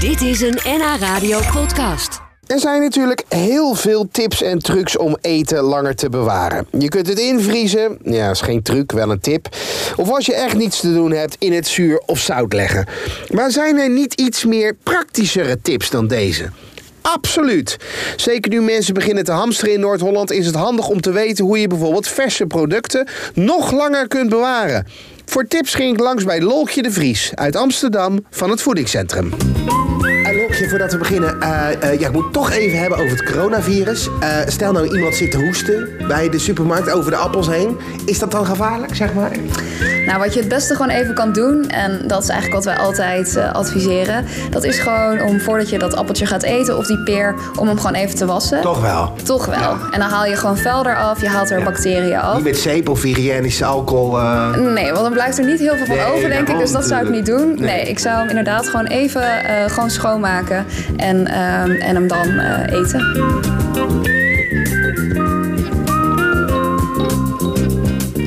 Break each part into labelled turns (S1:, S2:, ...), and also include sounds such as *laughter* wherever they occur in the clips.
S1: Dit is een NH Radio podcast.
S2: Er zijn natuurlijk heel veel tips en trucs om eten langer te bewaren. Je kunt het invriezen, ja, is geen truc, wel een tip. Of als je echt niets te doen hebt, in het zuur of zout leggen. Maar zijn er niet iets meer praktischere tips dan deze? Absoluut. Zeker nu mensen beginnen te hamsteren in Noord-Holland, is het handig om te weten hoe je bijvoorbeeld verse producten nog langer kunt bewaren. Voor tips ging ik langs bij Lolkje de Vries uit Amsterdam van het Voedingscentrum.
S3: En Lokje, voordat we beginnen, eh, eh, ja, ik moet het toch even hebben over het coronavirus. Eh, stel nou iemand zit te hoesten bij de supermarkt over de appels heen. Is dat dan gevaarlijk, zeg maar?
S4: Nou, wat je het beste gewoon even kan doen, en dat is eigenlijk wat wij altijd eh, adviseren, dat is gewoon om voordat je dat appeltje gaat eten of die peer, om hem gewoon even te wassen.
S3: Toch wel.
S4: Toch wel. En dan haal je gewoon vuil eraf, je haalt er bacteriën af.
S3: Niet met zeep of hygiënische alcohol. eh.
S4: Nee, want dan blijft er niet heel veel van
S3: Nee,
S4: over, denk ik.
S3: daarom
S4: Dus dat zou ik niet doen. Nee,
S3: natuurlijk. Nee.
S4: ik zou hem inderdaad gewoon even eh, gewoon schoonmaken en, ehm, en hem dan eh, eten.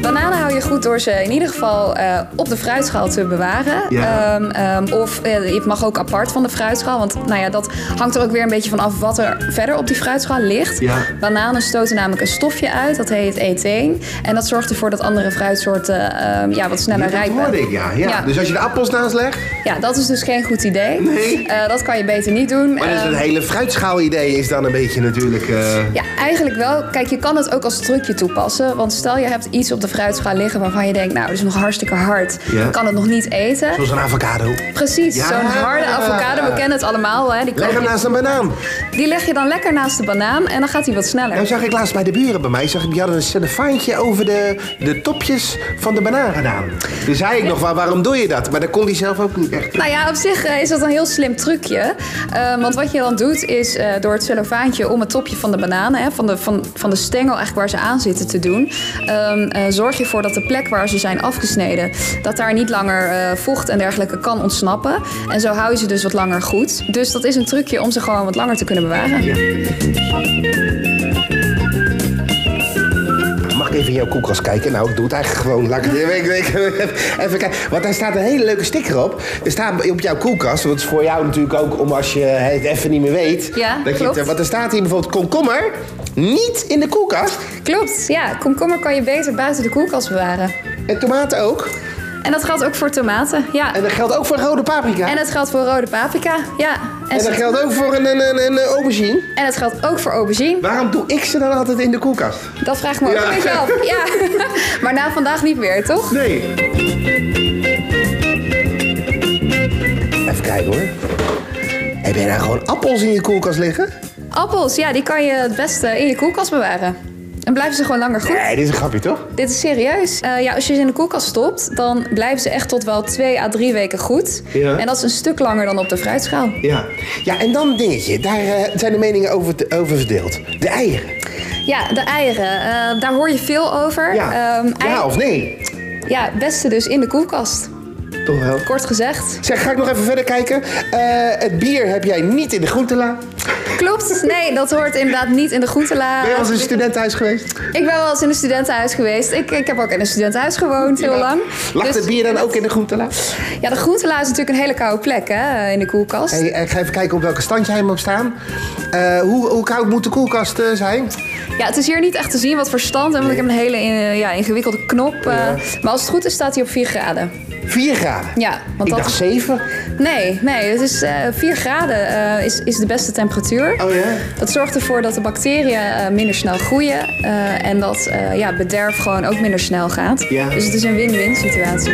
S4: Bananen hou je goed door ze in ieder geval eh, op de fruitschaal te bewaren.
S3: Ja.
S4: Ehm, ehm, of eh, het mag ook apart van de fruitschaal. Want nou ja, dat hangt er ook weer een beetje van af wat er verder op die fruitschaal ligt.
S3: Ja.
S4: Bananen stoten namelijk een stofje uit, dat heet etheen. En dat zorgt ervoor dat andere fruitsoorten ehm, ja, wat sneller
S3: dat
S4: rijpen.
S3: hoorde ik, ja, ja.
S4: Ja.
S3: Dus als je de appels naast legt,
S4: Ja, dat is dus geen goed idee.
S3: Nee.
S4: Eh, dat kan je beter niet doen.
S3: maar dat is
S4: Ehm,
S3: het hele fruitschaal-idee is dan een beetje natuurlijk... eh,
S4: ja, eigenlijk wel. Kijk, je kan het ook als trucje toepassen. Want stel je hebt iets op de fruitschaal liggen waarvan je denkt, nou, dat is nog hartstikke hard.
S3: Ja.
S4: Je kan het nog niet eten.
S3: Zoals een avocado.
S4: Precies,
S3: Ja.
S4: zo'n harde avocado, we kennen het allemaal. Hè? Die, koop
S3: Leg hem nou
S4: je-
S3: naast een banaan.
S4: die leg je dan lekker naast de banaan en dan gaat hij wat sneller.
S3: Nou zag ik laatst bij de buren bij mij, zag ik, die hadden een cellofaantje over de, de topjes van de banaan gedaan. Toen zei ik nog, waar, waarom doe je dat? Maar dat kon hij zelf ook niet echt.
S4: Nou ja, op zich eh, is dat een heel slim trucje. Eh, want wat je dan doet is eh, door het cellofaantje om het topje van de bananen, hè, van, de, van, van de stengel eigenlijk waar ze aan zitten te doen, ehm, eh, zorg je ervoor dat de plek waar ze zijn afgesneden, dat daar niet langer eh, vocht en dergelijke kan ontsnappen. En zo hou je ze dus wat langer goed. Dus dat is een trucje om ze gewoon wat langer te kunnen bewaren.
S3: Mag ik even in jouw koelkast kijken? Nou, ik doe het eigenlijk gewoon. Laat *laughs* ik het even, even kijken. Want daar staat een hele leuke sticker op. Er staat op jouw koelkast, want het is voor jou natuurlijk ook om als je het even niet meer weet.
S4: Ja,
S3: dat Je
S4: klopt.
S3: het, want er staat hier bijvoorbeeld komkommer niet in de koelkast.
S4: Klopt, ja. Komkommer kan je beter buiten de koelkast bewaren.
S3: En tomaten ook.
S4: En dat geldt ook voor tomaten, ja.
S3: En dat geldt ook voor rode paprika.
S4: En dat geldt voor rode paprika, ja.
S3: En dat
S4: ze-
S3: geldt ook voor een, een, een, een aubergine.
S4: en dat geldt ook voor aubergine.
S3: Waarom doe ik ze dan altijd in de koelkast?
S4: Dat vraag ik me ook
S3: Ja.
S4: een beetje af.
S3: *laughs*
S4: Ja. Maar na vandaag niet meer, toch?
S3: Nee. Even kijken hoor. Heb jij nou gewoon appels in je koelkast liggen?
S4: Appels, ja, die kan je het beste in je koelkast bewaren. En blijven ze gewoon langer goed.
S3: Nee, dit is een grapje toch?
S4: Dit is serieus. Eh, ja, als je ze in de koelkast stopt, dan blijven ze echt tot wel twee à drie weken goed.
S3: Ja.
S4: En dat is een stuk langer dan op de fruitschaal.
S3: Ja. Ja, en dan een dingetje. Daar eh, zijn de meningen over, over verdeeld. De eieren.
S4: Ja, de eieren. eh, daar hoor je veel over.
S3: Ja.
S4: Ehm, ei-
S3: ja of nee?
S4: ja, het beste dus in de koelkast.
S3: Toch wel.
S4: Kort gezegd.
S3: Zeg, ga ik nog even verder kijken. Eh, het bier heb jij niet in de groentela. *laughs*
S4: Klopt. Nee, dat hoort inderdaad niet in de groentela.
S3: Ben je als een studentenhuis geweest?
S4: Ik ben wel eens in een studentenhuis geweest. Ik, ik heb ook in een studentenhuis gewoond, heel lang.
S3: Lag
S4: Dus-
S3: het bier dan ook in de groentela?
S4: Ja, de groentela is natuurlijk een hele koude plek hè, in de koelkast.
S3: Hey, eh, ik ga even kijken op welke stand jij hem op staan. Eh, hoe, hoe koud moet de koelkast eh, zijn?
S4: Ja, het is hier niet echt te zien wat voor stand. hè, Want ik heb een hele eh, ja, ingewikkelde knop. eh, Maar als het goed is, staat hij op 4 graden.
S3: 4 graden.
S4: Ja, want
S3: ik
S4: dat
S3: dacht
S4: is-
S3: 7.
S4: Nee, nee, het is eh 4 graden eh, is, is de beste temperatuur.
S3: Oh ja?
S4: Dat zorgt ervoor dat de bacteriën eh, minder snel groeien. eh, en dat eh, ja, bederf gewoon ook minder snel gaat.
S3: Ja.
S4: Dus het is een win-win situatie.